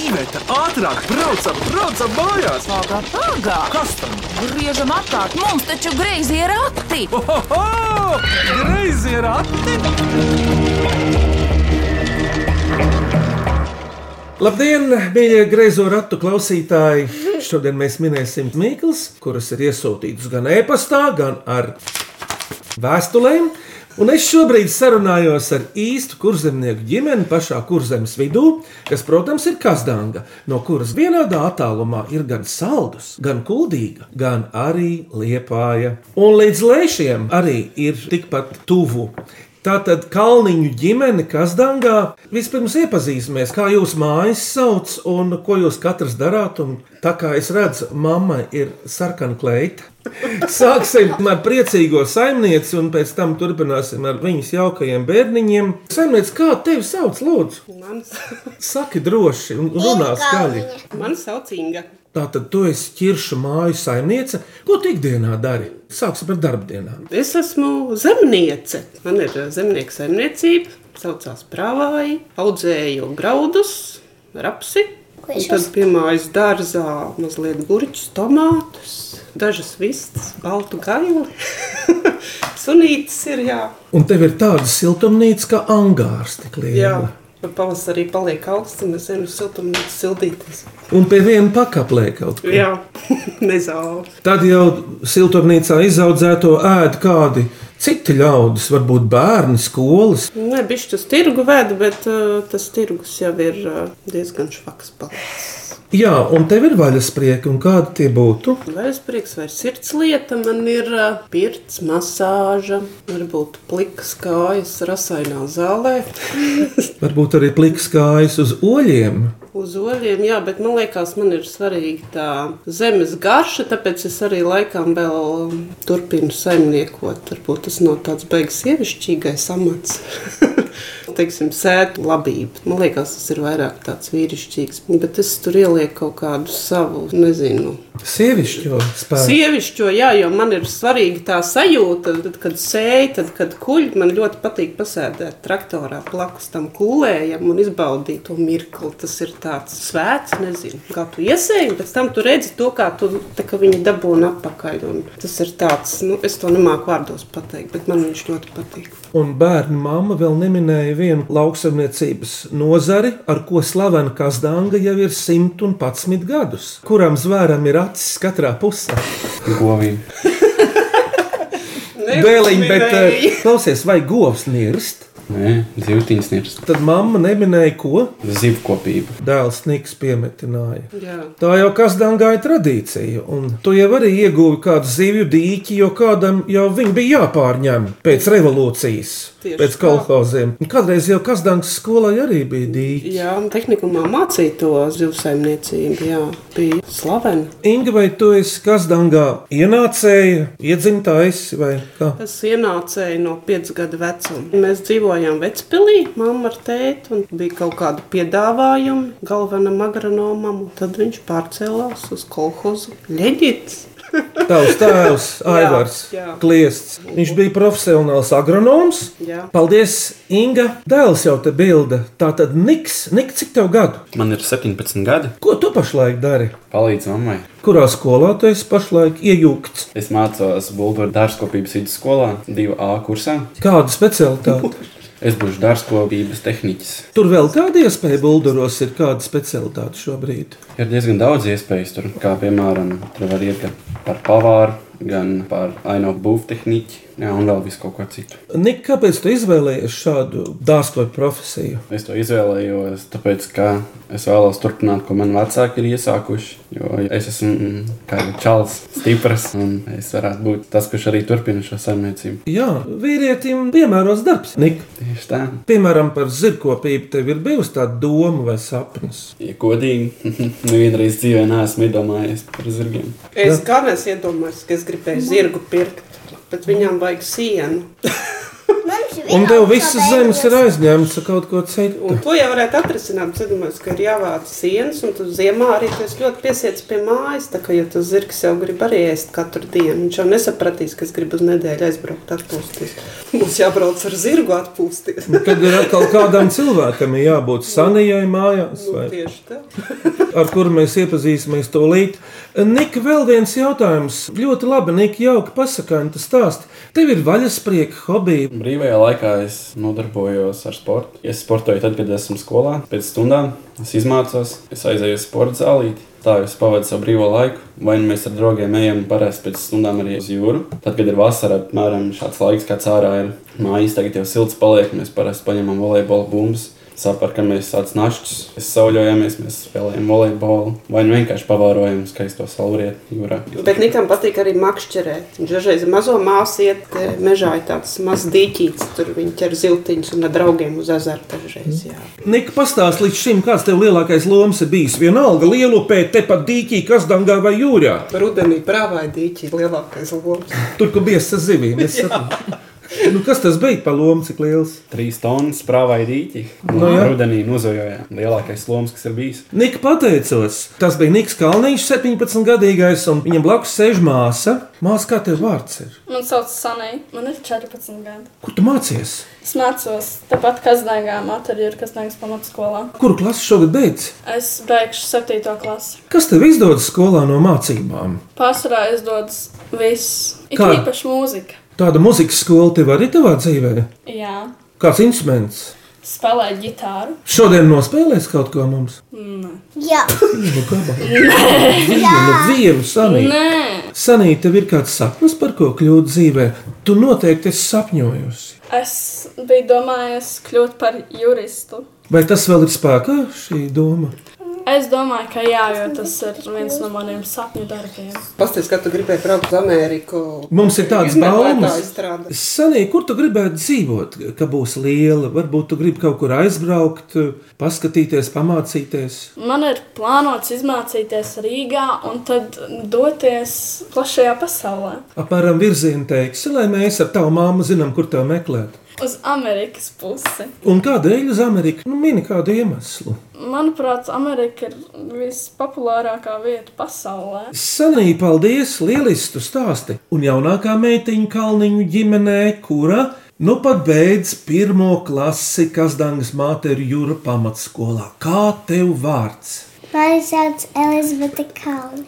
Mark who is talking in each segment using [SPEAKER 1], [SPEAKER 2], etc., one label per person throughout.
[SPEAKER 1] Iveta, ātrāk, braucam, braucam mājās!
[SPEAKER 2] Pagā, pagā!
[SPEAKER 1] Kas tam?
[SPEAKER 2] Griežam apkārt, mums taču greizi ir akti!
[SPEAKER 1] Ohoho! Greizi ir ati!
[SPEAKER 3] Labdien, mīļie greizo ratu klausītāji! Šodien mēs minēsim mīklas, kuras ir iesūtītas gan e-pastā, gan ar vēstulēm. Un es šobrīd sarunājos ar īstu kurzemnieku ģimeni pašā kurzemes vidū, kas, protams, ir Kazdanga, no kuras vienādā attālumā ir gan saldus, gan kuldīga, gan arī liepāja. Un līdz lēšiem arī ir tikpat tuvu. Tātad Kalniņu ģimene Kazdangā vispirms iepazīsimies, kā jūs mājas sauc un ko jūs katrs darāt. Un tā kā es redzu, mamma ir sarkana kleita. Sāksim ar priecīgo saimnieci un pēc tam turpināsim ar viņas jaukajiem bērniņiem. Saimniec, kā tevi sauc, lūdzu?
[SPEAKER 4] Mans,
[SPEAKER 3] Saki droši un runā skaļi.
[SPEAKER 4] man sauc Inga.
[SPEAKER 3] Tātad tu esi ķiršu māju saimniece. Ko tu ikdienā dari? Sāksim ar darbdienām.
[SPEAKER 4] Es esmu zemniece. Man ir eh, zemnieka saimniecība, saucās Prāvāji. Audzēju graudus, rapsi.
[SPEAKER 5] Ko
[SPEAKER 4] Un
[SPEAKER 5] es
[SPEAKER 4] tad
[SPEAKER 5] esmu?
[SPEAKER 4] pie mājas dārzā mazliet gurķus, tomātus, dažas vistas, baltu gaili. Sunītis ir jā.
[SPEAKER 3] Un tev ir tāda siltumnīca kā angārs tik liela.
[SPEAKER 4] jā. Pavasarī paliek augsts, un mēs ejam uz siltumnīcu sildīties.
[SPEAKER 3] Un pie viena pakaplē kaut ko.
[SPEAKER 4] Jā, nezāle.
[SPEAKER 3] Tad jau siltumnīcā izaudzēto ēd kādi citi ļaudis, varbūt bērni, skolas.
[SPEAKER 4] Nē, bišķi uz tirgu vēdu, bet uh, tas tirgus jau ir uh, diezgan švaks palicis.
[SPEAKER 3] Jā, un tev ir vaļasprieki, un kādi tie būtu?
[SPEAKER 4] Vai es prieks vai sirds lieta, man ir uh, pirts, masāža, varbūt plikas kājas rasainā zālē.
[SPEAKER 3] Varbūt arī pliks kājas uz oļiem.
[SPEAKER 4] Uz oļiem, jā, bet man liekas, man ir svarīga tā zemes garša, tāpēc es arī laikam vēl um, turpinu saimniekot. Varbūt tas nav tāds beigas sievišķīgais amats. Teiksim, sētu labība. Man liekas, tas ir vairāk tāds vīrišķīgs, bet es tur ielieku kaut kādu savu, nezinu,
[SPEAKER 3] Sievišķo spēku.
[SPEAKER 4] Sievišķo, jā, jo man ir svarīga tā sajūta, tad, kad sēž, tad, kad kuļ, man ļoti patīk pasēdēt traktorā blakus tam kūlējam un izbaudīt to mirkli. Tas ir tāds svēts, nezinu, kā tu iesēji, pēc tam tu redzi to, kā tu tā kā viņi dabūna apakaļ. Un tas ir tāds, nu, es to nemāku vārdos pateikt, bet man viņš ļoti patīk.
[SPEAKER 3] Un bērnu mamma vēl neminēja vienu lauksaimniecības nozari, ar ko slavena Kazdanga jau ir 111 gadus, kurām zvēram ir acis katrā pusē.
[SPEAKER 6] Govīm.
[SPEAKER 3] Nu, Bēliņ, bet eh, klausies, vai govs nirst?
[SPEAKER 6] Nē, zivtiņas nirst.
[SPEAKER 3] Tad mamma neminēja, ko
[SPEAKER 6] Zivkopība.
[SPEAKER 3] dēls Niks piemetināja.
[SPEAKER 4] Jā.
[SPEAKER 3] Tā jau kasdangā ir tradīcija, un tu jau arī ieguvi kādu zivju dīķi, jo kādam jau viņi bija jāpārņem pēc revolūcijas,
[SPEAKER 4] Tieši
[SPEAKER 3] pēc
[SPEAKER 4] tā.
[SPEAKER 3] kolhoziem. Un Kādreiz jau kasdangas skolai arī bija dīķi.
[SPEAKER 4] Jā, tehnikumā mācīja to zivsaimniecību, jā, bija slavena.
[SPEAKER 3] Inga, vai tu esi kasdangā ienācēja, iedzimtais vai kā?
[SPEAKER 4] Es ienācēju no 5 gadu vecuma. Mēs dzīvojām Vecpilī, mamma ar tēti, un bija kaut kāda piedāvājuma galvenam agronomam. un Tad viņš pārcēlās uz kolhozu Leģits.
[SPEAKER 3] Tavs tēvs, Aivars,
[SPEAKER 4] Jā, jā.
[SPEAKER 3] Kliests. Viņš bija profesionāls agronoms.
[SPEAKER 4] Jā.
[SPEAKER 3] Paldies, Inga. Dēls jau te bilda. Tā tad Niks, Nik, cik tev gadu?
[SPEAKER 6] Man ir 17 gadi.
[SPEAKER 3] Ko tu pašlaik dari?
[SPEAKER 6] Palīdz mammai.
[SPEAKER 3] Kurā skolā tu esi pašlaik iejūgts?
[SPEAKER 6] Es mācos Bulgārijas dārzkopības vidusskolā, 2A kursā.
[SPEAKER 3] Kāda specialitāte?
[SPEAKER 6] Es būšu dārzkopības tehniķis.
[SPEAKER 3] Tur vēl tāda iespēja Bulgaros ir kāda specialitāte šobrīd.
[SPEAKER 6] Ir diezgan daudz iespēju tur, kā piemēram, tur var iet gan par pavāru, gan par ainavu būvtehniķi, jā, un vēl visu kaut ko citu.
[SPEAKER 3] Nik, kāpēc tu izvēlējies šādu dārstoju profesiju?
[SPEAKER 6] Es to izvēlējos, tāpēc, ka es vēlos turpināt, ko man vecāki ir iesākuši. Jo es esmu mm, kā jau čels, stiprs, un es varētu būt tas, kurš arī turpina šo saimniecību.
[SPEAKER 3] Jā, vīrietim piemēros darbs. Nik,
[SPEAKER 6] Tieši tā.
[SPEAKER 3] piemēram, par zirgkopību tev ir bijusi tāda doma vai sapnis.
[SPEAKER 6] Ja godīgi, nevienreiz dzīvē neesmu iedomājies par zirgiem.
[SPEAKER 4] Es kā nes iedomājos, ka es gribēju zirgu pirkt, bet viņam vajag sienu.
[SPEAKER 5] Mums
[SPEAKER 3] Un tev visas zemes ir aizņemts ar kaut ko citu.
[SPEAKER 4] Un to jau varētu atrisināt. Zinājums, ka ir jāvāc sienas, un tu ziemā arī tas ļoti piesiets pie mājas. Tā kā ja tas zirgs jau grib arī ēst katru dienu, viņš jau nesapratīs, kas grib uz nedēļu aizbraukt, atpūsties. Mums jābrauc ar zirgu atpūsties.
[SPEAKER 3] Un Tad ir atkal kādam cilvēkam ir jābūt sanijai mājās,
[SPEAKER 4] Nu,
[SPEAKER 3] vai,
[SPEAKER 4] Tieši tā.
[SPEAKER 3] ar kuru mēs iepazīsimies tūlīt. Nika, vēl viens jautājums. Ļoti labi, Nika, jauki pasakāni tas stāst. Tev ir vaļasprieka hobija.
[SPEAKER 6] Brīvajā laikā es nodarbojos ar sportu. Es sportoju tad, kad esmu skolā. Pēc stundām es izmācos, es aizēju uz sporta zāli. Tā es pavadu savu brīvo laiku. Vai nu mēs ar draugiem ejam parasti pēc stundām arī uz jūru. Tad, kad ir vasara, apmēram šāds laiks, kāds ārā ir mājas, tagad jau silts paliek. Mēs parasti paņemam volejbola bumbas. Sapratamies, tāds našķis, mēs sauļojamies, mēs spēlējam volejbolu, vai nu vienkārši pavārojam skaisto saulrietu jūrā.
[SPEAKER 4] Bet Nikam patīk arī makšķerēt. Viņš dažreiz ar mazo māsu iet eh, mežā, ir tāds mazs dīķītis, tur viņi ķer ziltiņus un ar draugiem uz ezeru dažreiz. Jā.
[SPEAKER 3] Nika, pastāst līdz šim, kāds tev lielākais lomas ir bijis. Vienalga, lielupē, tepat dīķī, kazdangā vai jūrā.
[SPEAKER 4] Rudenī prāvāja dīķi lielākais loks.
[SPEAKER 3] Tur, kur bija sazivīm, es saprotu. Nu, kas tas bija pa lomu, cik liels?
[SPEAKER 6] Trīs tonnas prāvai rīķi.
[SPEAKER 3] Nu
[SPEAKER 6] No
[SPEAKER 3] jā.
[SPEAKER 6] rudenī nozojojām. Lielākais lomas, kas ir bijis.
[SPEAKER 3] Nika pateicās, tas bija Niks Kalniņš, 17 gadīgais, un viņam blakus sēž māsa. Māsa, kā tev vārds ir?
[SPEAKER 5] Man sauc Sanai, man ir 14 gadi.
[SPEAKER 3] Kur tu mācies?
[SPEAKER 5] Es mācos tāpat Kazdāngā, Matarjūra Kazdāngas pamatskolā.
[SPEAKER 3] Kuru klasi šogad beidz?
[SPEAKER 5] Es beigšu 7. klasi.
[SPEAKER 3] Kas tev izdodas skolā no mācībām?
[SPEAKER 5] Pārsvarā es dodas viss. Ir
[SPEAKER 3] Kā?
[SPEAKER 5] īpaši mūzika.
[SPEAKER 3] Tāda muzikas skola tev arī tavā dzīvē?
[SPEAKER 5] Jā,
[SPEAKER 3] Kāds instruments?
[SPEAKER 5] spēlēju ģitāru.
[SPEAKER 3] Šodien nospēlēs kaut ko mums?
[SPEAKER 7] Jā,
[SPEAKER 3] Nu, kāda? Vienu, vienu, sanīt.
[SPEAKER 5] Nē,
[SPEAKER 3] Sanīt, tev ir kāds sapnis, par ko kļūt dzīvē? Tu noteikti esi sapņojusi.
[SPEAKER 5] es biju domājis kļūt par juristu.
[SPEAKER 3] Vai tas vēl ir spēkā, šī doma?
[SPEAKER 5] Es domāju, ka jā, jo tas ir viens no maniem sapņu darbiem.
[SPEAKER 4] Pastāstiet, kā tu gribēji braukt uz Ameriku.
[SPEAKER 3] Mums ir tādas
[SPEAKER 4] Izmeklētāji
[SPEAKER 3] baumas.
[SPEAKER 4] strādā.
[SPEAKER 3] Sanī, kur tu gribētu dzīvot, ka būs liela? Varbūt tu gribi kaut kur aizbraukt, paskatīties, pamācīties.
[SPEAKER 5] Man ir plānots izmācīties Rīgā un tad doties plašajā pasaulē.
[SPEAKER 3] Apmēram virzienu teiksi, lai mēs ar tavu māmu zinām, kur tev meklēt.
[SPEAKER 5] Uz Amerikas pusi.
[SPEAKER 3] Un kādēļ uz Ameriku? Nu, mini kādu iemeslu.
[SPEAKER 5] Manuprāt, Amerika ir vispopulārākā vieta pasaulē.
[SPEAKER 3] Sanī, paldies! Lieliski tu stāsti! Un jaunākā meitiņa Kalniņu ģimenē, kura nu pat beidz pirmo klasi Kazdangas māteru jūra pamatskolā. Kā tev vārds?
[SPEAKER 7] mani sauc Elizabete Kalni.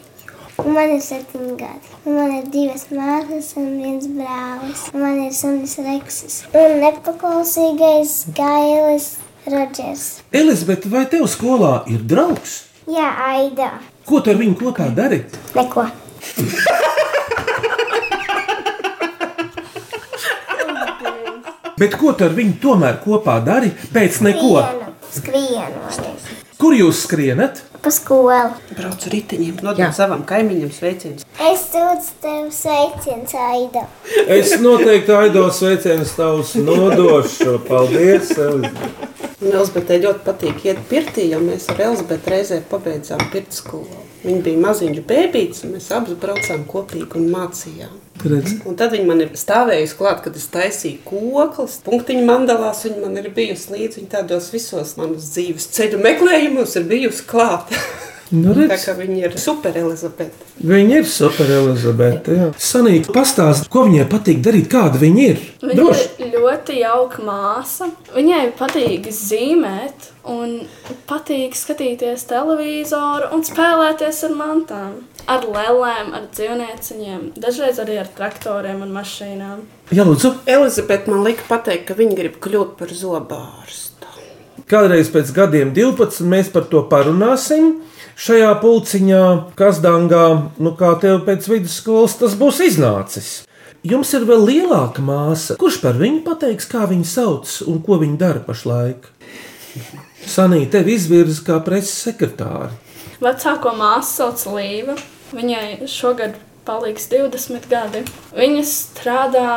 [SPEAKER 7] Un man ir septiņi gadi. Un man ir divas māsas un viens brālis. Un man ir sunis Reksis. Un nepaklausīgais Gailis Rodžers.
[SPEAKER 3] Elizabete, vai tev skolā ir draugs?
[SPEAKER 7] Jā, Aida.
[SPEAKER 3] Ko tu ar viņu kopā dari?
[SPEAKER 7] Neko.
[SPEAKER 3] Bet ko tu ar viņu tomēr kopā dari pēc neko?
[SPEAKER 7] Skrienu. Skrienu.
[SPEAKER 3] Kur jūs skrienat?
[SPEAKER 7] Pa skolu.
[SPEAKER 4] Braucu ar riteņiem, nodod savam kaimiņam sveicienus.
[SPEAKER 7] Es sūdzu tev sveiciens, Aida.
[SPEAKER 3] Es noteikti aidos sveicienus tavus nodošu. Paldies! Elizabete.
[SPEAKER 4] Un Elizabetē ļoti patīk iet pirtī, jo mēs ar Elizabeti reizē pabeidzām pirts skolu. Viņa bija maziņš bērns, un mēs abi braucām kopīgi un mācījām.
[SPEAKER 3] Redz,
[SPEAKER 4] Un tad viņa man ir stāvējusi klāt, kad es taisīju kokus, punktiņu mandalās. Viņa man ir bijusi līdzi. Viņa tādos visos manas dzīves ceļu meklējumos ir bijusi klāta.
[SPEAKER 3] Nu, redz.
[SPEAKER 4] Tā kā viņa ir super Elizabete.
[SPEAKER 3] Viņa ir super Elizabete. jā. Sanīka, pastāst, ko viņai patīk darīt, kāda viņa ir.
[SPEAKER 5] Viņa
[SPEAKER 3] Droši.
[SPEAKER 5] ir ļoti jauka māsa. Viņai patīk zīmēt, un patīk skatīties televizoru un spēlēties ar mantām. Ar lēlēm, ar dzīvnieciņiem, dažreiz arī ar traktoriem un mašīnām.
[SPEAKER 3] Jā, lūdzu,
[SPEAKER 4] Elizabete man lika pateikt, ka viņa grib kļūt par zobārstu.
[SPEAKER 3] kādreiz pēc gadiem 12 mēs par to parunāsim. Šajā pulciņā, Kazdangā, nu kā tev pēc vidusskolas tas būs iznācis. Jums ir vēl lielāka māsa. Kurš par viņu pateiks, kā viņu sauc un ko viņa dara pašlaik? Sanīte, tevi izvirza kā preses sekretāri.
[SPEAKER 5] Vecāko māsu sauc Līva. Viņai šogad paliks 20 gadi. Viņa strādā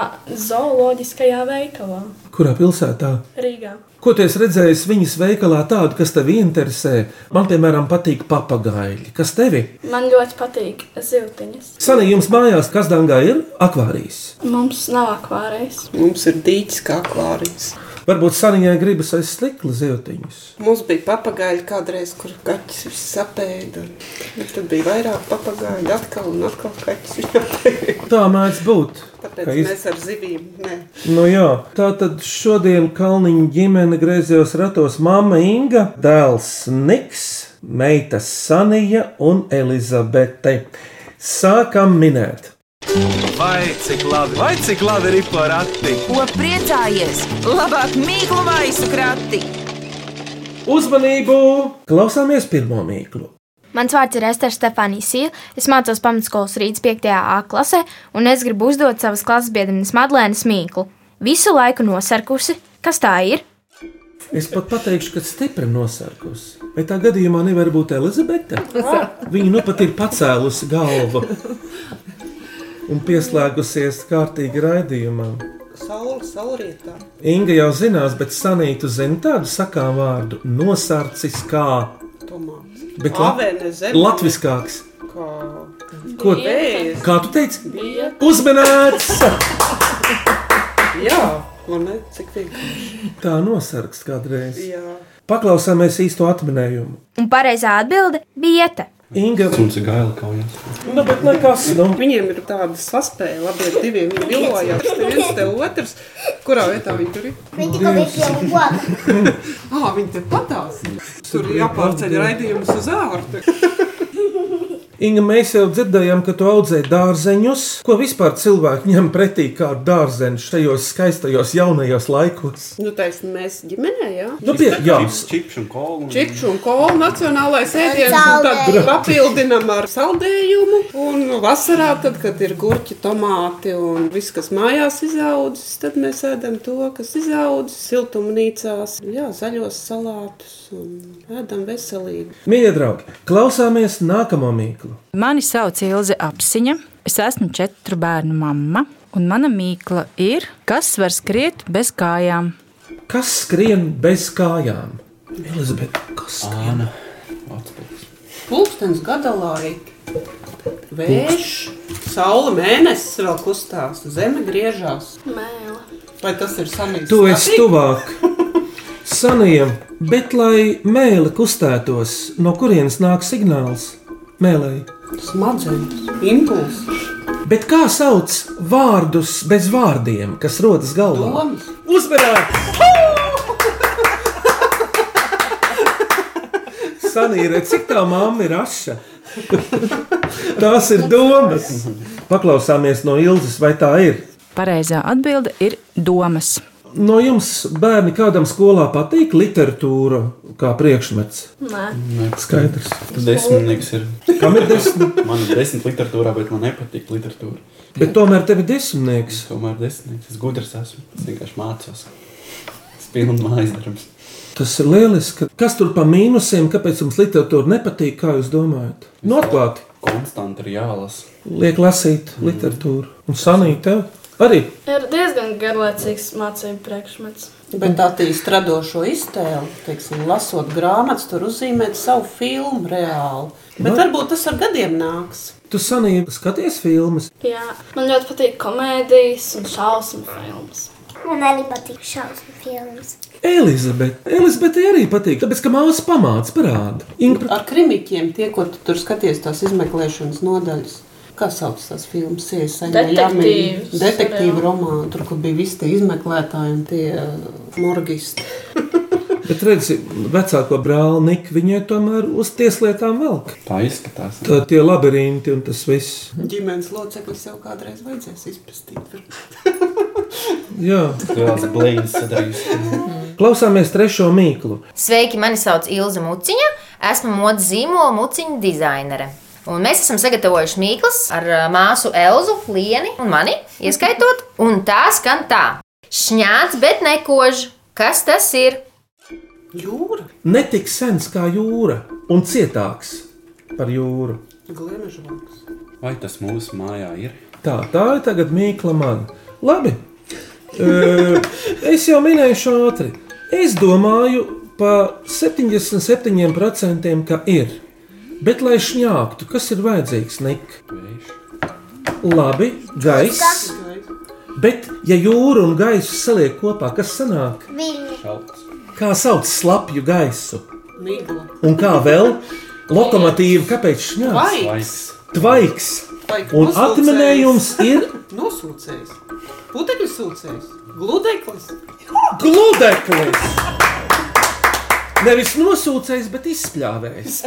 [SPEAKER 5] zooloģiskajā veikalā
[SPEAKER 3] Kurā pilsētā?
[SPEAKER 5] Rīgā.
[SPEAKER 3] Ko tu esi redzējis viņas veikalā tādu, kas tevi interesē? Man, piemēram, patīk papagaili. Kas tevi?
[SPEAKER 5] Man ļoti patīk ziltiņas.
[SPEAKER 3] Sanī, jums mājās Kazdangā ir akvārijas.
[SPEAKER 5] Mums nav akvārijas.
[SPEAKER 4] Mums ir dīķis kā klāris.
[SPEAKER 3] Varbūt Sanijai gribas aiz slikla zīltiņus.
[SPEAKER 4] Mums bija papagaļi kādreiz, kur kaķis viss sapēda. Un tad bija vairāk papagaļi, atkal un atkal kaķis viss apēda.
[SPEAKER 3] Tā mēdz būt.
[SPEAKER 4] Tāpēc
[SPEAKER 3] Ka iz-
[SPEAKER 4] mēs ar zivīm. Nē.
[SPEAKER 3] Nu, jā. tā tad šodien Kalniņa ģimene griezījās ratos māma Inga, dēls Niks, meita Sanija un Elizabete. Sākam minēt!
[SPEAKER 1] Vai cik labi, vai cik labi ir pa rati?
[SPEAKER 2] Ko priecājies? Labāk mīklu maisu krati!
[SPEAKER 3] Uzmanību! Klausāmies pirmo mīklu.
[SPEAKER 8] Mans vārds ir Estera Stefānija Sīla. Es mācos pamatskolas rīta 5. A klasē, un es gribu uzdot savas klases biedrenes Madlēnas mīklu. Visu laiku nosarkusi, kas tā ir?
[SPEAKER 3] Es pat teikšu, ka stipri nosarkusi. Vai tā gadījumā nevar būt Elizabete? Viņa nu pat ir pacēlusi galvu un pieslēgusies kārtīgi raidījumam.
[SPEAKER 4] Saula, saulrietā.
[SPEAKER 3] Inga jau zinās, bet Sanītu zina tādu sakām vārdu - nosarcis kā,
[SPEAKER 4] Tomāts.
[SPEAKER 3] bet la
[SPEAKER 4] Āvēne zeme.
[SPEAKER 3] latviskāks.
[SPEAKER 4] Kā
[SPEAKER 3] Ko,
[SPEAKER 4] vējs.
[SPEAKER 3] kā tu teici? Uzmanīts!
[SPEAKER 4] Jā, man ne, cik vienkārši.
[SPEAKER 3] Tā nosargs kādreiz.
[SPEAKER 4] Jā.
[SPEAKER 3] Paklausāmies īsto atminējumu.
[SPEAKER 8] Un pareizā atbilde bija ieta.
[SPEAKER 3] Inga,
[SPEAKER 6] Suns ir gaila kaujas.
[SPEAKER 3] nu, bet nekas, nu,
[SPEAKER 4] Viņiem ir tāda saspēja, labi, ar diviem viņi vilojās, te viens te otrs. Kurā vietā viņi tur ir?
[SPEAKER 7] Viņi tikko bija pie loga.
[SPEAKER 4] Ā, viņi te patās. Tur ir jāpārceļ raidījums uz ārti.
[SPEAKER 3] Inga, mēs jau dzirdējām, ka tu audzē dārzeņus. Ko vispār cilvēki ņem pretī kā dārzeņu šajos skaistajos jaunajos laikos?
[SPEAKER 4] Nu, taisn, mēs ģimenē, jā.
[SPEAKER 3] Nu, pie, jā,
[SPEAKER 6] Čips un kola. un-
[SPEAKER 4] Čipšu un kolu nacionālais ēdiens, un tad
[SPEAKER 7] saldējumu.
[SPEAKER 4] papildinam ar saldējumu. Un vasarā, tad, kad ir gurķi, tomāti un viss, kas mājās izaudzis, tad mēs ēdam to, kas izaudzis siltumnīcās. Jā, zaļos salātus un ēdam veselīgi.
[SPEAKER 3] mīļie draugi, klausāmies nākamo mīklu.
[SPEAKER 9] Mani sauc Ilze Apsiņa. Es esmu četru bērnu mamma. Un mana mīkla ir, kas var skriet bez kājām.
[SPEAKER 3] Kas skrien bez kājām? Elizabete, kas skrien?
[SPEAKER 6] Āna. Atspūgs.
[SPEAKER 4] Pūkstens gada laika. Vējš, saule, mēnesis vēl kustās, zeme griežās.
[SPEAKER 5] Mēle.
[SPEAKER 4] Vai tas ir samīgs?
[SPEAKER 3] Tu esi tuvāk saniem, bet lai mēlē kustētos, no kurienes nāk signāls? Mēlēji.
[SPEAKER 4] Smadzenes, impulss,
[SPEAKER 3] Bet kā sauc vārdus bez vārdiem, kas rodas galvā?
[SPEAKER 4] domas.
[SPEAKER 3] Uzmanīgs! Sanīra, cik tā mamma ir aša? Tās ir domas. Paklausāmies no Ilzas, vai tā ir.
[SPEAKER 9] Pareizā atbilde ir domas.
[SPEAKER 3] No jums, bērni, kādam skolā patīk literatūra kā priekšmets?
[SPEAKER 5] Nē,
[SPEAKER 3] Skaidrs.
[SPEAKER 6] Desmitnieks ir.
[SPEAKER 3] Kam ir desmit?
[SPEAKER 6] Man ir desmit literatūrā, bet man nepatīk literatūra.
[SPEAKER 3] Bet tomēr tev ir desmitnieks.
[SPEAKER 6] Es tomēr desmitnieks. Es gudrs esmu. Es vienkārši mācos. Es pilnu mājas darbus.
[SPEAKER 3] Tas ir lieliski. Kas tur pa mīnusiem, kāpēc jums literatūra nepatīk? Kā jūs domājat? Noklāti,
[SPEAKER 6] Konstanti ir jālasa.
[SPEAKER 3] liek lasīt literatūru. Un sanīt, tev arī
[SPEAKER 5] ir diezgan garlaicīgs mācību priekšmets.
[SPEAKER 4] Bet attīstīt radošo iztēli, teiksim, lasot grāmatas, tur uzzīmēt savu filmu reāli. Bet
[SPEAKER 3] Nu.
[SPEAKER 4] varbūt tas ar gadiem nāks.
[SPEAKER 3] tu sanīt, skaties filmas.
[SPEAKER 5] Jā, man ļoti patīk komēdijas un šausmu filmas.
[SPEAKER 7] Man arī patīk šausmu filmas.
[SPEAKER 3] Elizabete, Elizabete arī patīk, tāpēc ka māsa pamāca parādu. Ingra,
[SPEAKER 4] Ar krimiķiem, tie, ko tu tur skaties, tās izmeklēšanas nodaļas. Kā sauc tās filmas?
[SPEAKER 5] Detektīvs.
[SPEAKER 4] Detektīva romāna, tur, kur bija visi tie izmeklētāji un tie uh, morgisti.
[SPEAKER 3] bet redzi, vecāko brāli Niku, viņai tomēr uz tieslietām velk.
[SPEAKER 6] Tā izskatās.
[SPEAKER 3] Tā tie labirinti un tas viss.
[SPEAKER 4] Ģimenes loceklis jau kādreiz vajadzēs izpastīt.
[SPEAKER 3] Jā.
[SPEAKER 6] Lielās blīņas sadarījus.
[SPEAKER 3] Klausāmies trešo mīklu.
[SPEAKER 10] Sveiki, mani sauc Ilza Muciņa. Esmu modes zīmola muciņa dizainere. Un mēs esam sagatavojuši mīklas ar ā, māsu Elzu, Lienu un mani ieskaitot. Un tā skan tā: šņāts, bet nekož. Kas tas ir?
[SPEAKER 4] Jūra,
[SPEAKER 3] Netik sens kā jūra un cietāks par jūru.
[SPEAKER 4] gliemežvāks.
[SPEAKER 6] Vai tas mūsu mājā ir?
[SPEAKER 3] Tā, tā ir tagad mīkla man. Labi, e, es jau minēju ātri. Es domāju, pa 77% ka ir. Bet, lai šņāktu, kas ir vajadzīgs, Nik?
[SPEAKER 6] Vējš.
[SPEAKER 3] Labi, gaiss. Bet, ja jūra un gaisa saliek kopā, kas sanāk?
[SPEAKER 7] Viļņi,
[SPEAKER 6] Šalts.
[SPEAKER 3] Kā sauc slapju gaisu?
[SPEAKER 4] Migla.
[SPEAKER 3] Un kā vēl? Lokomotīva, kāpēc šņāks?
[SPEAKER 4] Laiks.
[SPEAKER 6] Laiks.
[SPEAKER 3] Tvaiks.
[SPEAKER 4] Laiks.
[SPEAKER 3] Un atminējums ir
[SPEAKER 4] Nosūcējs. Putekļu sūcējs. Gludeklis.
[SPEAKER 3] Gludeklis! Nevis nosūcējis, bet izspļāvējis.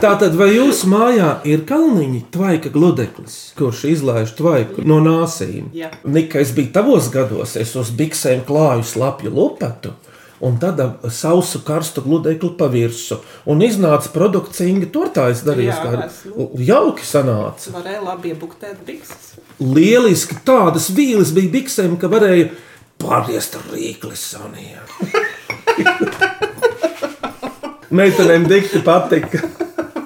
[SPEAKER 3] Tātad, vai jūsu mājā ir kalniņa tvaika gludeklis, kurš izlaiž tvaiku no nāsīm?
[SPEAKER 4] Jā.
[SPEAKER 3] Nika, es biju tavos gados, es uz biksēm klāju slapju lupatu. Un tad ap sausu karstu gludekli pa virsmu. Un iznāca produkts, Inga, tur tā es darīju.
[SPEAKER 4] Jā,
[SPEAKER 3] kā-
[SPEAKER 4] esmu.
[SPEAKER 3] Jauki sanāca.
[SPEAKER 4] Varēja labi iebuktēt bikses.
[SPEAKER 3] Lieliski tādas vīles bija biksēm, ka varēja pāriest ar rīkli saniem. Meitenēm dikti patika.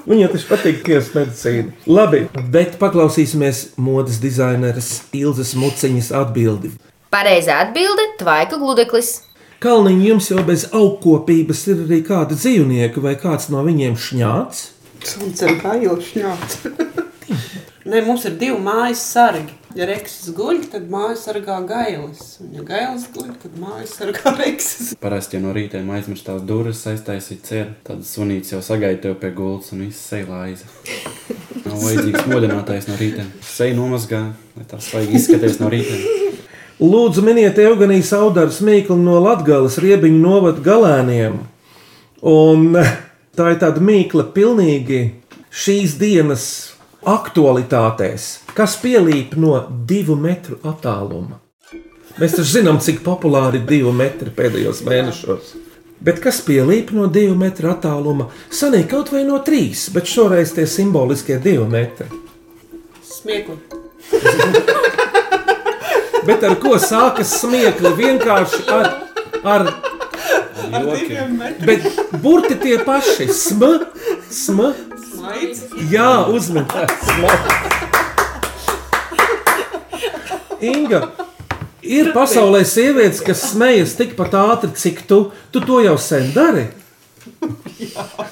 [SPEAKER 3] Viņa taču patīk kies medicīna. Labi, bet paklausīsimies modes dizaineres Ilzas Muciņas atbildi.
[SPEAKER 10] Pareizā atbilde - tvaika gludeklis.
[SPEAKER 3] Kalniņš jums jau bez augkopības ir arī kāda dzīvnieka vai kāds no viņiem šņāts.
[SPEAKER 4] Suncam kā jau šņāts. Nē, mums ir divi mājas sargi. Ja reksis guļ, tad mājas sargā gailis. Un ja gailis guļ, tad mājas sargā reksis.
[SPEAKER 6] Parasti jau no rīta aizmirstās durvis, aiztaisīt ceļu. Tad sunīts jau sagaida tevi pie gultas un viss seja laiza. Nav vajadzīgs modinātājs no rīta. Seja nomazgā, lai tā svaigi izskaties no rīta.
[SPEAKER 3] Lūdzu, miniet Eugenijas audaras mīklu no Latvijas riebiņu novada galēniem. Un tā ir tāda mīkla pilnīgi šīs dienas aktualitātēs, kas pielīp no divu metru attāluma. Mēs taču zinām, cik populāri ir divi metri pēdējos mēnešos. Bet kas pielīp no divu metru attāluma? Sanīk kaut vai no trīs, bet šoreiz tie simboliskie divi metri.
[SPEAKER 4] Smiekli.
[SPEAKER 3] Bet ar ko sākas smiekli? Vienkārši ar, ar
[SPEAKER 6] Joki.
[SPEAKER 3] Bet burti tie paši. Sm, sm,
[SPEAKER 4] Smaids.
[SPEAKER 3] jā, uzmanīgs. Inga. Ir pasaulē sievietes, kas smejas tikpat ātri, cik tu. Tu to jau sen dari.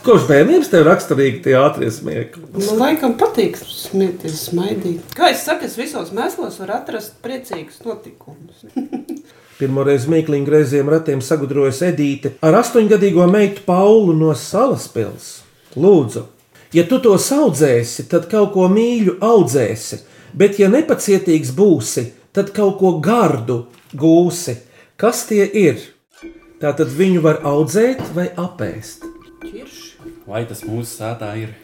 [SPEAKER 3] Kopš bērnības tev raksturīgi tie ātrie smiekli.
[SPEAKER 4] Man laikam patīk smieties, smaidīt. Kā es saku, es visos mēslos varu atrast priecīgus notikumus.
[SPEAKER 3] Pirmoreiz mīkliņa grieziem ratiem sagudrojas Edīte ar astoņgadīgo meitu Paulu no salas pilsētas. Lūdzu, ja tu to audzēsi, tad kaut ko mīļu audzēsi, bet ja nepacietīgs būsi, tad kaut ko gardu gūsi. Kas tie ir? Tā tad viņu var audzēt vai apēst.
[SPEAKER 4] Čirši.
[SPEAKER 6] Vai tas mūsu sētā ir?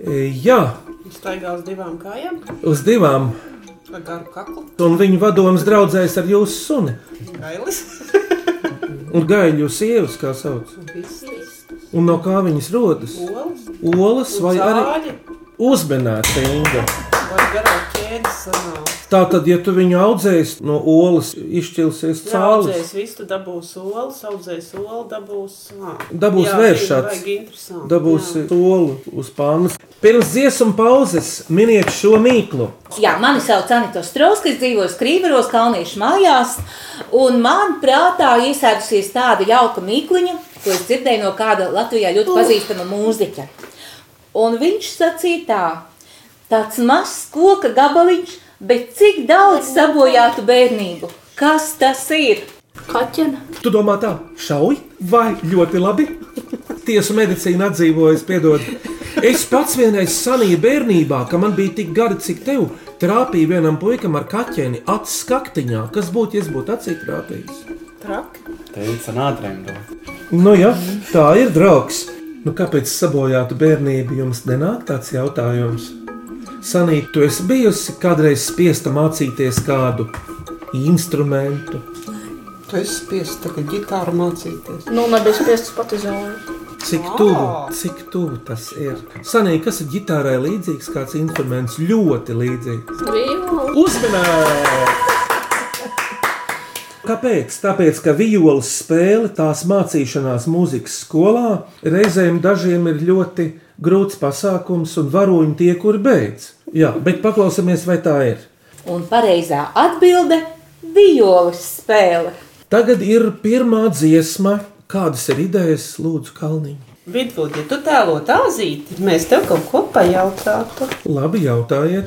[SPEAKER 3] E, jā,
[SPEAKER 4] Staigās divām kājām
[SPEAKER 3] uz divām.
[SPEAKER 4] ar garu kaklu.
[SPEAKER 3] Un viņu vadonis draudzējas ar jūsu suni.
[SPEAKER 4] Gailis.
[SPEAKER 3] Un gaļu jūs sievas, kā sauc. Un no kā viņas rodas?
[SPEAKER 4] Olas.
[SPEAKER 3] Olas vai arī
[SPEAKER 4] Zāļi.
[SPEAKER 3] Uzmanīta Inga.
[SPEAKER 4] Vai garā ķēdes sanāk.
[SPEAKER 3] Tā tad, ja tu viņu audzēsi no olas, izšķilsies cālis.
[SPEAKER 4] Audzējs visu dabūs soli, audzējs soli dabūs. ā.
[SPEAKER 3] Dabūs
[SPEAKER 4] Jā,
[SPEAKER 3] vēršats.
[SPEAKER 4] vajag interesanti,
[SPEAKER 3] Dabūsi
[SPEAKER 4] jā.
[SPEAKER 3] soli uz pānas. Pirms dziesmu pauzes miniet šo mīklu.
[SPEAKER 11] Jā, mani sauc Anita Strunke, es dzīvoju Skrīveros, Kalniņš mājās. Un man prātā iesēdusies tāda jauka mīkliņa, ko es dzirdēju no kāda Latvijā ļoti pazīstama mūziķa. Un viņš sacīja tā, tāds mazs koka gabaliņš, bet cik daudz sabojātu bērnību. Kas tas ir?
[SPEAKER 5] Kaķena.
[SPEAKER 3] Tu domā tā, šauj vai ļoti labi? Tiesu medicīna atdzīvojas, piedod. Es pats vienreiz sanīju bērnībā, ka man bija tik gari, cik tev trāpīja vienam puikam ar kaķeni acis kaktiņā. Kas būtu, ja es būtu acī trāpījis?
[SPEAKER 4] Traki.
[SPEAKER 6] Teica nātrēm dot.
[SPEAKER 3] Nu, jā, tā ir draugs. Nu, kāpēc sabojātu bērnību jums nenāk tāds jautājums? Sanīt, tu esi bijusi kādreiz spiesta mācīties kādu instrumentu.
[SPEAKER 4] Tu esi spiests tagad ģitāru mācīties.
[SPEAKER 5] Nu, nebija spiests pat izolēt.
[SPEAKER 3] Cik tuvu, cik tuvu tas ir? Sanīt, kas ir ģitārai līdzīgs, kāds instruments ļoti līdzīgs.
[SPEAKER 5] Brīvā.
[SPEAKER 3] Uzmanīgi! Kāpēc? Tāpēc, ka violas spēle, tās mācīšanās mūzikas skolā, reizēm dažiem ir ļoti grūts pasākums un varoņi tie, kur beidz. Jā, bet paklausāmies, vai tā ir.
[SPEAKER 11] Un pareizā atbilde - violas spēle.
[SPEAKER 3] Tagad ir pirmā dziesma. Kādas ir idejas, Lūdzu, Kalniņa?
[SPEAKER 4] Vidvuds, ja tu tēlo tā zīti, mēs tev kaut ko pajautātu.
[SPEAKER 3] Labi, jautājiet.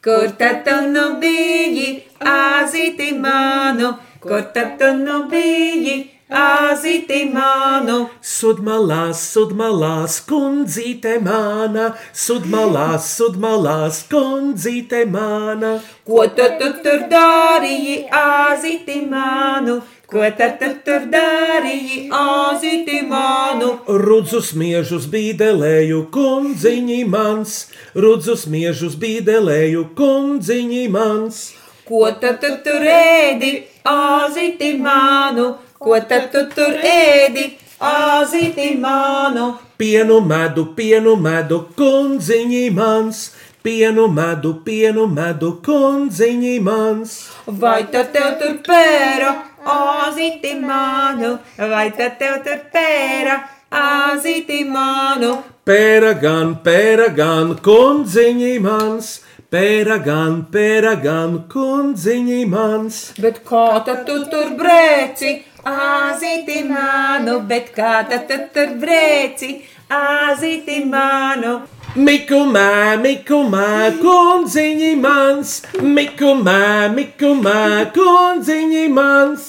[SPEAKER 12] Kur tad tu nu biji, azīti manu? Kur tad tu nu biji, azīti manu?
[SPEAKER 3] Sudmalās, sudmalās, kundzīte mana, sudmalās, sudmalās, kundzīte mana.
[SPEAKER 12] Ko tad tu tur darīji, azīti manu? Ko tad tu tur darīji, azīti manu?
[SPEAKER 3] Rudzus miežus bīdelēju, kundziņi mans, rudzus miežus bīdelēju, kundziņi mans.
[SPEAKER 12] Ko tad tu tur ēdi, azīti manu? Ko tad tu tur ēdi, azīti manu?
[SPEAKER 3] Pienu medu, pienu medu, kundziņi mans, pienu medu, pienu medu, kundziņi mans.
[SPEAKER 12] Vai tad tev tur pēra, azīti manu? Vai tad tev tur pēra, azīti manu?
[SPEAKER 3] Pēra gan, pēra gan, kundziņi mans, pēra gan, pēra gan, kundziņi mans.
[SPEAKER 12] Bet kā tad tu tur brēci? Azīti manu, bet kā tad tu tur brēci? Azīti manu!
[SPEAKER 3] Mikumā, mikumā, kundziņi mans, mikumā, mikumā, kundziņi mans.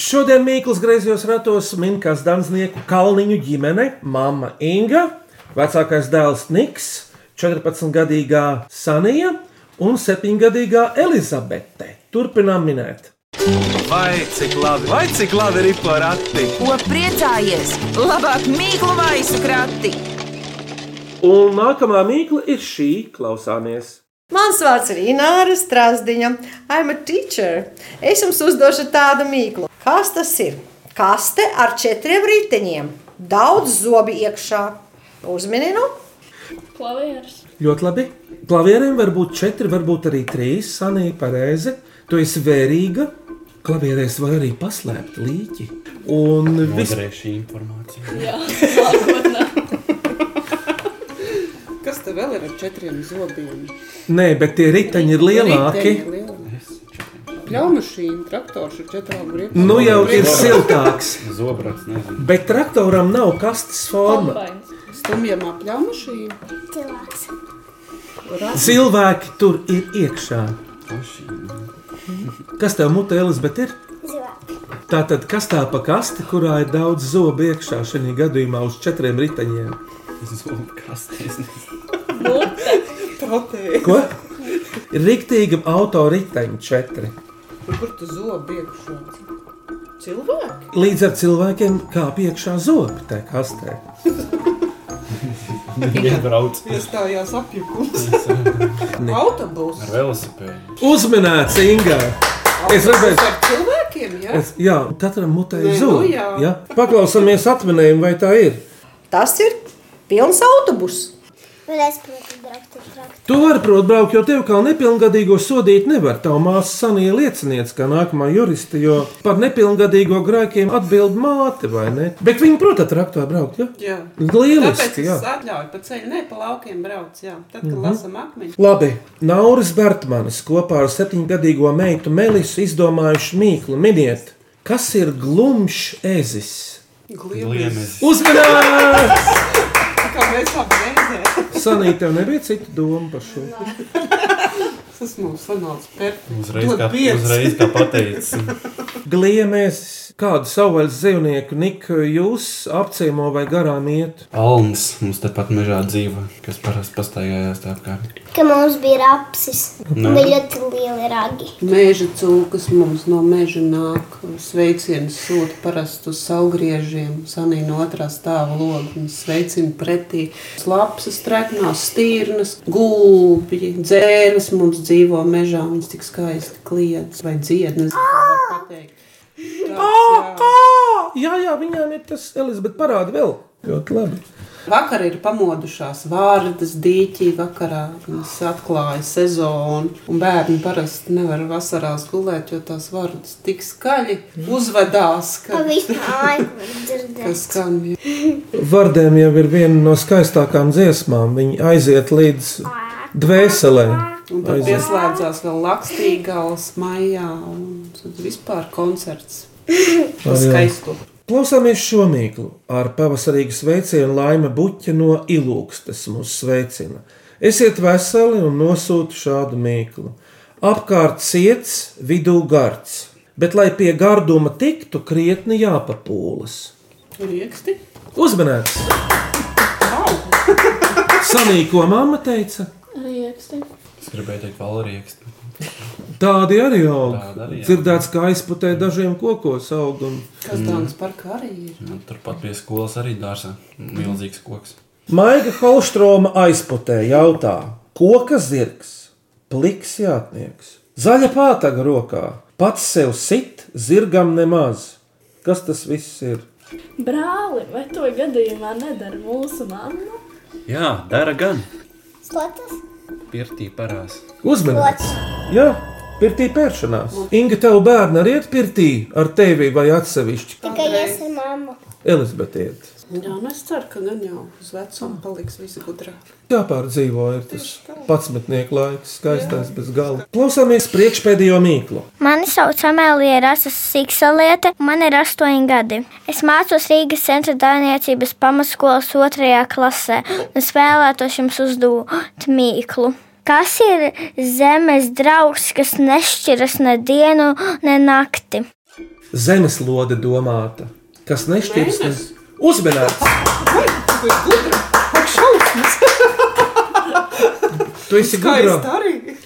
[SPEAKER 3] Šodien Mīkls griezījos ratos Minkas Danznieku Kalniņu ģimene, mama Inga, vecākais dēls Niks, 14-gadīgā Sanija un 7-gadīgā Elizabete. Turpinām minēt.
[SPEAKER 1] Vai cik labi, vai cik labi ir porakti?
[SPEAKER 2] Ko priecājies? Labāk mīklu maisu krati!
[SPEAKER 3] Un nākamā mīkla ir šī, klausāmies.
[SPEAKER 13] Mans vārds ir Ināra Strasdiņa. I'm a teacher. Es jums uzdošu tādu mīklu. Kas tas ir? Kaste ar četriem riteņiem. Daudz zobi iekšā. Uzmini, nu?
[SPEAKER 5] Klavieris.
[SPEAKER 3] Ļoti labi. Klavierēm var būt četri, varbūt arī trīs. Sanīja pareizi. Tu esi vērīga. Klavierēs var arī paslēpt līķi. Un viss
[SPEAKER 6] Noderēja šī informācija.
[SPEAKER 5] Jā,
[SPEAKER 4] Kas tev vēl ir ar četriem zobiem?
[SPEAKER 3] Nē, bet tie riteņi ir lielāki.
[SPEAKER 4] Riteņi lielāki. Pļaumašīna, traktors ar četrām ripām.
[SPEAKER 3] Nu jau ir siltāks.
[SPEAKER 6] Zobrats, nezinu.
[SPEAKER 3] Bet traktoram nav kastes forma.
[SPEAKER 4] Stumjamā pļaumašīna.
[SPEAKER 7] Cilvēks.
[SPEAKER 3] Cilvēki tur ir iekšā. Kas tev mutē, Elizabete, ir? Tā tad kas tā pa kasti, kurā ir daudz zobu iekšā šajā gadījumā uz četriem riteņiem?
[SPEAKER 6] Zobrats,
[SPEAKER 4] Totē.
[SPEAKER 3] Ko? Ir rīktīga autoriteņa četri.
[SPEAKER 4] Kur tu zobi iekšā? Cilvēki?
[SPEAKER 3] Līdz ar cilvēkiem kāp iekšā zobi tajā kastē.
[SPEAKER 6] Iebrauc.
[SPEAKER 4] Iestājās apjukums.
[SPEAKER 3] Ne.
[SPEAKER 4] Autobus.
[SPEAKER 6] Ar velosipēdu.
[SPEAKER 3] Uzminēts, Inga! Es
[SPEAKER 4] Autobus
[SPEAKER 3] redzēju,
[SPEAKER 4] ar cilvēkiem, jā?
[SPEAKER 3] es, jā, katram mutē
[SPEAKER 4] Nē,
[SPEAKER 3] ir
[SPEAKER 4] nu
[SPEAKER 3] zobi.
[SPEAKER 4] jā.
[SPEAKER 3] Ja? Paklausāmies atminējumu, vai tā ir.
[SPEAKER 13] Tas ir pilns autobus.
[SPEAKER 7] Un es, protams, brauktu ar traktoru.
[SPEAKER 3] Tu vari, protams, braukt, jo tev kā nepilngadīgo sodīt nevar. Tā māsa sanīja liecinieci, kā nākamā jurista, jo par nepilngadīgo grēkiem atbild māte, vai ne? Bet viņi, protams, traktorā braukt, ja?
[SPEAKER 4] Jā. Tāpēc
[SPEAKER 3] Lieliski, jā. Mhm.
[SPEAKER 4] es atļauju pa ceļu, ne pa laukiem brauc, jā. Tad, kad lasam akmeņus.
[SPEAKER 3] Labi, Nauris Bertmanis kopā ar septiņgadīgo meitu Melisu izdomājuši mīklu. Miniet, kas ir glumšs ezis?
[SPEAKER 4] Gliemes.
[SPEAKER 6] Gliemes.
[SPEAKER 3] Uzmanības!
[SPEAKER 4] Kā mēs apgēzē.
[SPEAKER 3] Sanīt, tev nebija cita doma par šo.
[SPEAKER 4] Tas mums sanāca perfekti.
[SPEAKER 6] Uzreiz
[SPEAKER 4] Dod
[SPEAKER 6] kā,
[SPEAKER 4] pieci.
[SPEAKER 6] uzreiz kā pateicis.
[SPEAKER 3] Gliemies, kādu savvaļas dzīvnieku Niku jūs apciemo vai garām iet?
[SPEAKER 6] Alnis mums tepat mežā dzīvo, kas parasti pastaigājās tā kā.
[SPEAKER 7] Ka mums bija rapsis.
[SPEAKER 6] Nē.
[SPEAKER 7] Un bija ļoti lieli ragi.
[SPEAKER 4] Mēža cūkas mums no meža nāk. Sveicienus sūta parasti uz saulgriežiem, sanī no otrā stāva logs. Sveicinu pretī slapjas, treknās, stīrnas, gulbi, dzērnes mums dzīvo mežā. Viņas tik skaisti kliedz vai dziednas.
[SPEAKER 3] Kā? Jā, jā, viņām ir tas Elizabeth parāda vēl. Ļoti labi.
[SPEAKER 4] Vakar ir pamodušās vārdas dīķī, vakarā viņas atklāja sezonu. Un bērni parasti nevar vasarās gulēt, jo tās vārdas tik skaļi uzvedās, ka,
[SPEAKER 7] Pa visu laiku var dzirdēt.
[SPEAKER 4] ka skan.
[SPEAKER 3] Vardēm jau ir viena no skaistākām dziesmām. Viņi aiziet līdz dvēselē.
[SPEAKER 4] Un tad
[SPEAKER 3] Aiziet.
[SPEAKER 4] pieslēdzās vēl Lakstīgals maijā un tad vispār koncerts.
[SPEAKER 3] Ai,
[SPEAKER 4] Tas
[SPEAKER 3] jā.
[SPEAKER 4] skaisto.
[SPEAKER 3] Klausāmies šo mīklu. Ar pavasarīgu sveicienu Laima Buķa no Ilūkstes mūs sveicina. Esiet veseli un nosūtu šādu mīklu. Apkārt ciets, vidū gards, bet, lai pie garduma tiktu, krietni jāpapūlas.
[SPEAKER 4] Rieksti?
[SPEAKER 3] Uzmanīts! Sanīko mamma teica,
[SPEAKER 5] Rieksti.
[SPEAKER 6] Es gribēju teikt, valērijas.
[SPEAKER 3] tādi arī aug.
[SPEAKER 6] Tādi arī aug.
[SPEAKER 3] Dzirdēts, kā aizputē dažiem kokos aug. Un...
[SPEAKER 4] Kas tāds par karjeru?
[SPEAKER 6] Nu, Turpat pie skolas arī dārzā milzīgs koks.
[SPEAKER 3] Maiga Holstroma aizputē jautā, koka zirgs, pliks jātnieks, zaļa pātaga rokā, pats sev sit, zirgam nemaz. Kas tas viss ir?
[SPEAKER 5] Brāli, vai to gadījumā nedara mūsu mamma?
[SPEAKER 6] Jā, dara gan.
[SPEAKER 7] Slotas?
[SPEAKER 6] Pirtī parās.
[SPEAKER 3] Uzmanības! Jā, pirtī pēršanās. Inga, tev bērni arī iet pirtī ar tevi vai atsevišķi?
[SPEAKER 7] Tikai es ar mammu.
[SPEAKER 3] Elizabete iet.
[SPEAKER 4] Jā, nu es ceru, ka gan jau uz vecumu paliks visi gudrāki.
[SPEAKER 3] Jāpārdzīvo ir tas patsmetnieku laiks, skaistais bez gala. Klausāmies priekšpēdējo mīklu.
[SPEAKER 14] Mani sauc Amēlija Rasas Siksaliete, man ir astoņi gadi. Es mācos Rīgas centra dārniecības pamatskolas otrajā klasē un spēlētos jums uzdot mīklu. Kas ir zemes draugs, kas nešķiras ne dienu, ne nakti?
[SPEAKER 3] Zemeslode domāta, kas nešķirs. Ne... Uzmanības!
[SPEAKER 4] Ak, šausmas!
[SPEAKER 3] Tu esi gudrs!
[SPEAKER 4] Skaisti arī!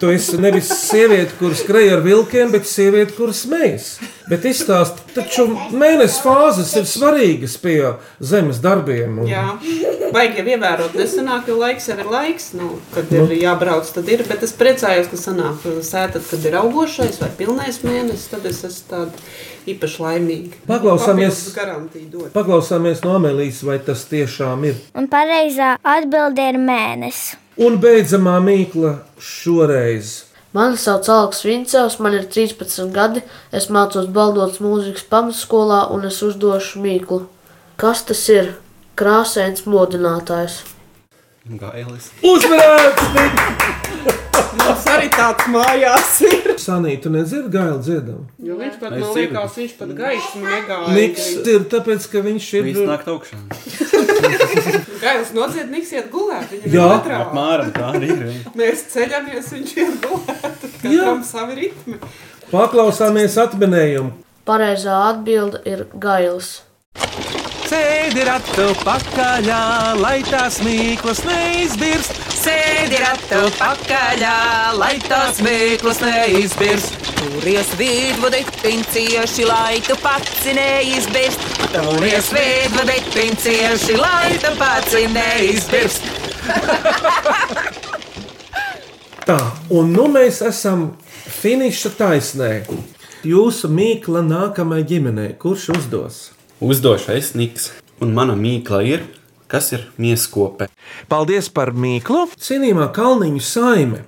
[SPEAKER 3] Tu esi nevis sieviete, kuras skrēja ar vilkiem, bet sieviete, kuras smējas. Bet izstāst, taču mēnesis fāzes ir svarīgas pie zemes darbiem. Un...
[SPEAKER 4] Jā, baigi jau ievērot, nesenāk, jo laiks jau ir laiks, nu, kad ir jābrauc, tad ir, bet es priecājos, ka sanāk sēta, kad ir augošais vai pilnais mēnesis, tad es esmu tāda īpaši laimīga.
[SPEAKER 3] Paklausāmies.
[SPEAKER 4] Papildus garantiju dod.
[SPEAKER 3] Paklausāmies no Amelijas, vai tas tiešām ir.
[SPEAKER 14] Un pareizā atbilde ir mēnesis.
[SPEAKER 3] Un beidzamā mīkla šoreiz.
[SPEAKER 15] Mani sauc Aleks Vincevs, man ir 13 gadi, es mācos Baldotas mūzikas pamatskolā un es uzdošu mīklu. Kas tas ir? Krāsains modinātājs.
[SPEAKER 6] Nu, Gailis.
[SPEAKER 3] Uzmanības!
[SPEAKER 4] Mums arī tāds mājās ir.
[SPEAKER 3] Sanī, tu nedzirdi gailu dziedam.
[SPEAKER 4] Jo viņš pat,
[SPEAKER 6] Es
[SPEAKER 4] man
[SPEAKER 6] dzirdu.
[SPEAKER 4] liekas, viņš pat gaismu negāja.
[SPEAKER 3] Niks ir tāpēc, ka viņš ir.
[SPEAKER 6] Viss nāk augšā.
[SPEAKER 4] Gails noziet, niks iet gulēt, viņam
[SPEAKER 3] Jā.
[SPEAKER 4] ir katrā.
[SPEAKER 6] Apmēram tā arī ir.
[SPEAKER 4] Mēs ceļamies, viņš iet gulēt, katram savi ritmi.
[SPEAKER 3] Paklausāmies atminējumu.
[SPEAKER 15] Pareizā atbilde ir gailis.
[SPEAKER 1] Sēdi ratu pakaļā, lai tās mīklas neizbirst. Sēdi ratu pakaļā, lai tās mīklas neizbirst.
[SPEAKER 2] Turies vidvadi, pincieši, lai tu pats neizbirst. Turies vidvadi, pincieši, lai tu pats neizbirst.
[SPEAKER 3] Tā, un nu mēs esam finiša taisnē. Jūsu mīkla nākamajai ģimenei, kurš uzdos?
[SPEAKER 6] Uzdošu es Niks. Un mana mīkla ir, kas ir mieskope.
[SPEAKER 3] Paldies par mīklu! Cienījumā Kalniņu saime.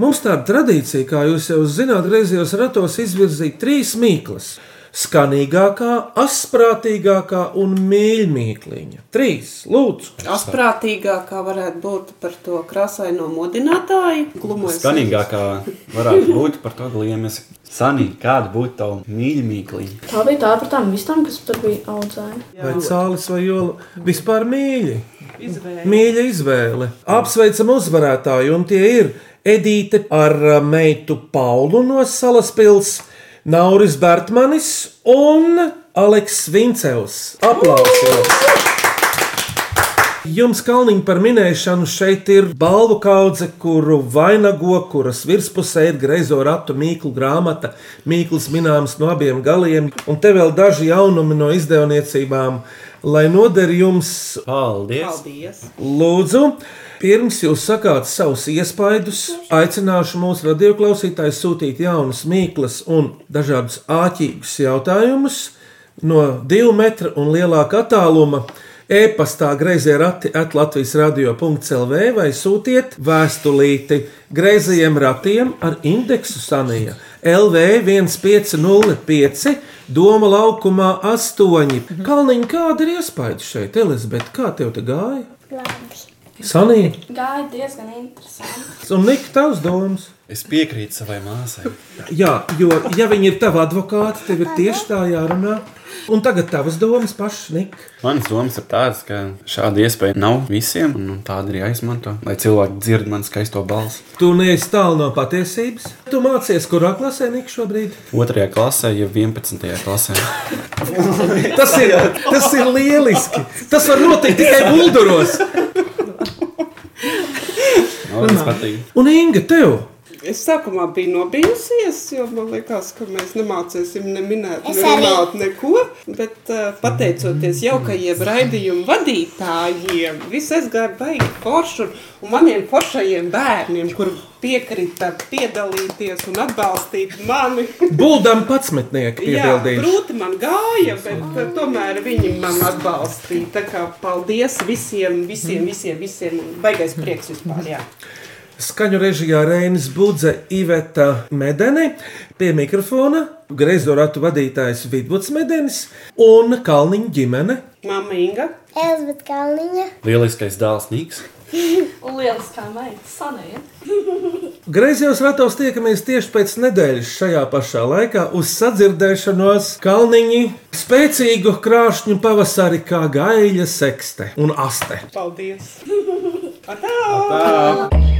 [SPEAKER 3] Mums tāda tradīcija, kā jūs jau zināt, griezījos ratos izvirzīt trīs mīklas. Skanīgākā, asprātīgākā un mīļākā. Trīs, lūdzu!
[SPEAKER 4] Asprātīgākā varētu būt par to krāsaino modinātāju. Glumojas.
[SPEAKER 6] Skanīgākā varētu būt par to gliemies. Sanī, kāda būtu tava mīļākā?
[SPEAKER 5] Tā bija tā par tām vistām, kas tur bija audzēja.
[SPEAKER 3] Vai cālis vai jola? Vispār mīļi!
[SPEAKER 4] Izvēle.
[SPEAKER 3] Mīļa izvēle. Apsveicam uzvarētāju, un tie ir Edīte ar uh, meitu Paulu no Salas pilsētas, Nauris Bērtmanis un Aleks Vincevs. Aplausos! Jums kalniņi par minēšanu šeit ir balvu kaudze, kuru vainago, kuras virspusē ir greizo ratu mīklu grāmata, mīklas minēms no abiem galiem, un te vēl daži jaunumi no izdevniecībām, lai noder jums
[SPEAKER 6] Paldies!
[SPEAKER 4] Paldies!
[SPEAKER 3] Lūdzu, pirms jūs sakāt savus iespaidus, aicināšu mūsu radioklausītājus sūtīt jaunas mīklas un dažādus āķīgus jautājumus no divu metru un lielāka attāluma. E-pastā grazējai rati atlatvijas radio.clv vai sūtiet vēstulīti grazējiem ratiem ar indeksu sanija LV1505 Doma laukumā 8. Kalniņa, kāda ir iespēja šeit, Elizabete, kā tev te gāja?
[SPEAKER 5] Labi.
[SPEAKER 3] Sanija,
[SPEAKER 5] Gāja diezgan interesanti.
[SPEAKER 3] un Nika, tavs domas?
[SPEAKER 6] Es piekrītu savai māsai.
[SPEAKER 3] Jā, jo ja viņi ir tavi advokāti, tev ir tieši tā jārunā. Un tagad tavas domas pašas, Nika.
[SPEAKER 6] Manas domas ir tādas, ka šāda iespēja nav visiem, un tāda ir jāizmanto, lai cilvēki dzird man skaisto balsi.
[SPEAKER 3] Tu neesi tālu no patiesības. Tu mācies, kurā klasē Nika šobrīd?
[SPEAKER 6] Otrajā klasē, jau 11. klasē.
[SPEAKER 3] Tas ir, tas ir lieliski. Tas var notikt tikai bulduros.
[SPEAKER 6] Man tas patīk.
[SPEAKER 3] Un Inga, tev?
[SPEAKER 4] Es sākumā biju nobijusies, jo man liekas, ka mēs nemācīsim ne minēt,
[SPEAKER 7] Es
[SPEAKER 4] ne
[SPEAKER 7] arī.
[SPEAKER 4] runāt neko. Bet uh, pateicoties jaukajiem raidījumu vadītājiem, viss aizgāja baigi forši. un- Un maniem foršajiem bērniem, kur piekrita piedalīties un atbalstīt mani.
[SPEAKER 3] Buldam patsmetnieki
[SPEAKER 4] Jā,
[SPEAKER 3] piebildīšu.
[SPEAKER 4] grūti man gāja, bet eh, tomēr viņi man atbalstīja. Tā kā paldies visiem, visiem, visiem, visiem. un Baigais prieks vispār, jā.
[SPEAKER 3] Skaņu režijā Reinis Budze, Iveta Medeni, pie mikrofona grezoratu vadītājs Vidvuds Medenis un Kalniņa ģimene.
[SPEAKER 4] Māma Inga.
[SPEAKER 7] Elizabete Kalniņa.
[SPEAKER 6] Lieliskais dēls Nīks.
[SPEAKER 5] Un liels kā meita, sanīja.
[SPEAKER 3] Greizējos ratos tiekamies tieši pēc nedēļas šajā pašā laikā uz sadzirdēšanos Kalniņi spēcīgu krāšņu pavasari kā gaļa sekste un aste.
[SPEAKER 4] Paldies!
[SPEAKER 12] Atā!